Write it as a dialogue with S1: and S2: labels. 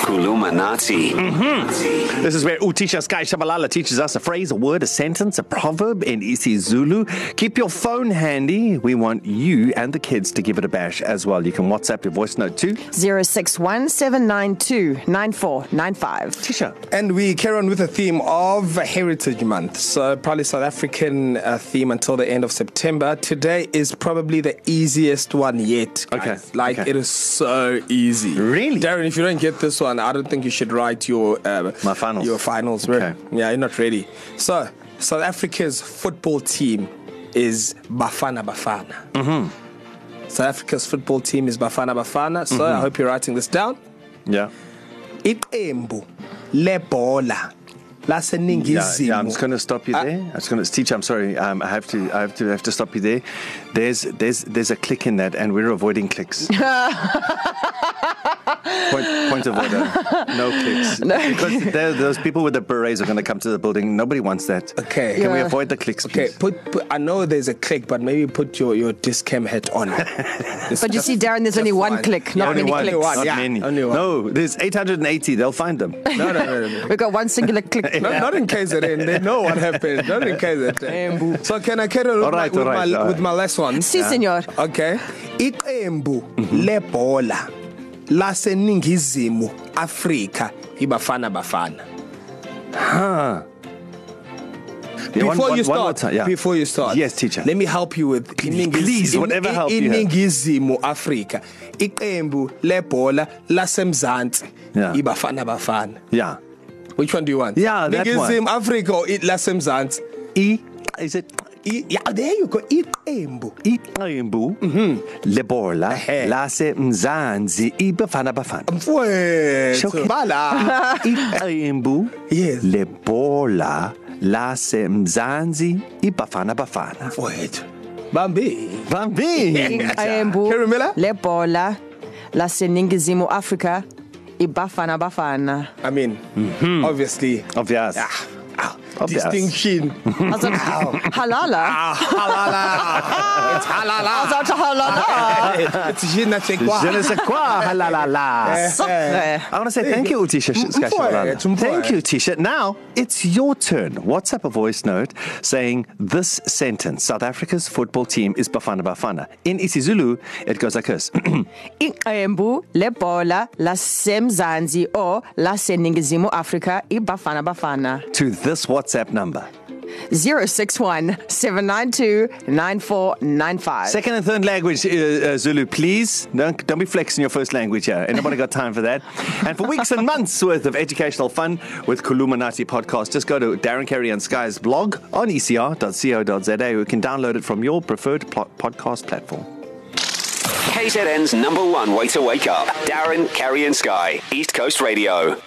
S1: Kulumanati.
S2: This is where Utisha Sky Shabalala teaches us a phrase, a word, a sentence, a proverb in isiZulu. Keep your phone handy. We want you and the kids to give it a bash as well. You can WhatsApp your voice note too.
S3: 061 792 9495.
S2: Tisha,
S4: And we carry on with the theme of Heritage Month. So, probably South African uh, theme until the end of September. Today is probably the easiest one yet. guys.
S2: Okay,
S4: Like,
S2: okay.
S4: it is so easy.
S2: Really?
S4: Darren, if you don't get this one, I don't think you should write your, uh,
S2: My finals.
S4: your finals.
S2: Okay.
S4: Okay. Yeah, you're not ready. So, South Africa's football team is Bafana Bafana. Mm-hmm. South Africa's football team is Bafana Bafana. So, mm-hmm. I hope you're writing this down.
S2: yeah.
S4: iqembu
S2: Yeah,
S4: lebhola
S2: yeah, I'm just
S4: laseningizimu
S2: going to stop you there. I'm just going to teach. I'm sorry. Um, I have to. I have to. I have to stop you there. There's there's there's a click in that, and we're avoiding clicks. point, point of order. No clicks. No. Because there, those people with the berets are going to come to the building. Nobody wants that.
S4: Okay.
S2: Can we
S3: Yeah.
S2: avoid the clicks,
S4: okay
S2: please?
S4: put, put i know there's a click but maybe put your your discam hat on It's
S3: But you
S4: just-
S3: see, Darren, there's
S4: just
S3: only one
S4: fine.
S3: click, not
S2: Only
S3: many
S2: one.
S3: clicks.
S4: Only
S2: Not
S4: one, yeah.
S2: many.
S4: Only one.
S2: No, there's 880. They'll find them.
S4: no no no, no.
S3: We've got one singular click.
S4: No, not in case it end. They know what happened. Not in case it end. So can I carry on with,
S2: All right,
S4: my, with,
S2: all right,
S4: my,
S2: all
S4: with
S2: right.
S4: my last one?
S3: Si, Yeah. senor.
S4: Okay. Iqembu
S2: Mm-hmm.
S4: lebhola laseningizimu Afrika ibafana bafana.
S2: Yeah, one-
S4: before
S2: one- one
S4: you start,
S2: more time, yeah.
S4: before you start,
S2: Yes, teacher.
S4: Let me help you with iningiz-
S2: please,
S4: in-
S2: whatever
S4: in-
S2: help you have.
S4: Iningizimu Afrika, iqembu lebhola lasemzansi
S2: Yeah.
S4: ibafana bafana.
S2: Yeah.
S4: Which one do you want?
S2: Yeah, that one.
S4: Ningizimu Afrika or i- lasemzansi?
S2: E. Is it E?
S4: I- Yeah, there you go. Iqembu.
S2: iqembu
S4: Mm-hmm.
S2: lebola
S4: Ehhe.
S2: lase mzansi ibafana bafana E,
S4: Mfowethu,
S2: Showcase.
S4: bala.
S2: iqembu
S4: Yes.
S2: lebola lase mzansi ibafana bafana
S4: Mfowethu. Bambi.
S2: bambini
S3: Iqembu
S4: Kerry Miller?
S3: lebhola laseningizimu Afrika ibafana bafana.
S4: I mean, mm-hmm. obviously.
S2: obvious
S4: Ah, ah,
S2: Obvious.
S4: distinction.
S3: Also, halala.
S4: Ah, halala. It's halala.
S3: Also, halala.
S4: it's je ne sais quoi.
S2: Je ne sais quoi, ha la la la.
S3: So, eh.
S2: I want to say thank you, Utisha. Sh- Sky
S4: Mpoe,
S2: Shabalala.
S4: it's mpoe.
S2: Thank you, Tisha. Now it's your turn. WhatsApp a voice note saying this sentence South Africa's football team is Bafana Bafana. In isiZulu, it goes like this
S3: iqembu lebhola lasemzansi o laseningizimu afrika ibafana bafana
S2: to this WhatsApp number.
S3: 061 792 9495
S2: Second and third language, uh, uh, Zulu, please. Don't, don't be flexing your first language here. Ain't nobody got time for that. And for weeks and months worth of educational fun with Kulumanati podcast, just go to Darren Carey and Sky's blog on E ecr.co.za. You can download it from your preferred pl- podcast platform.
S1: KZN's number one way to wake up. Darren, Kerry, and Sky. East Coast Radio.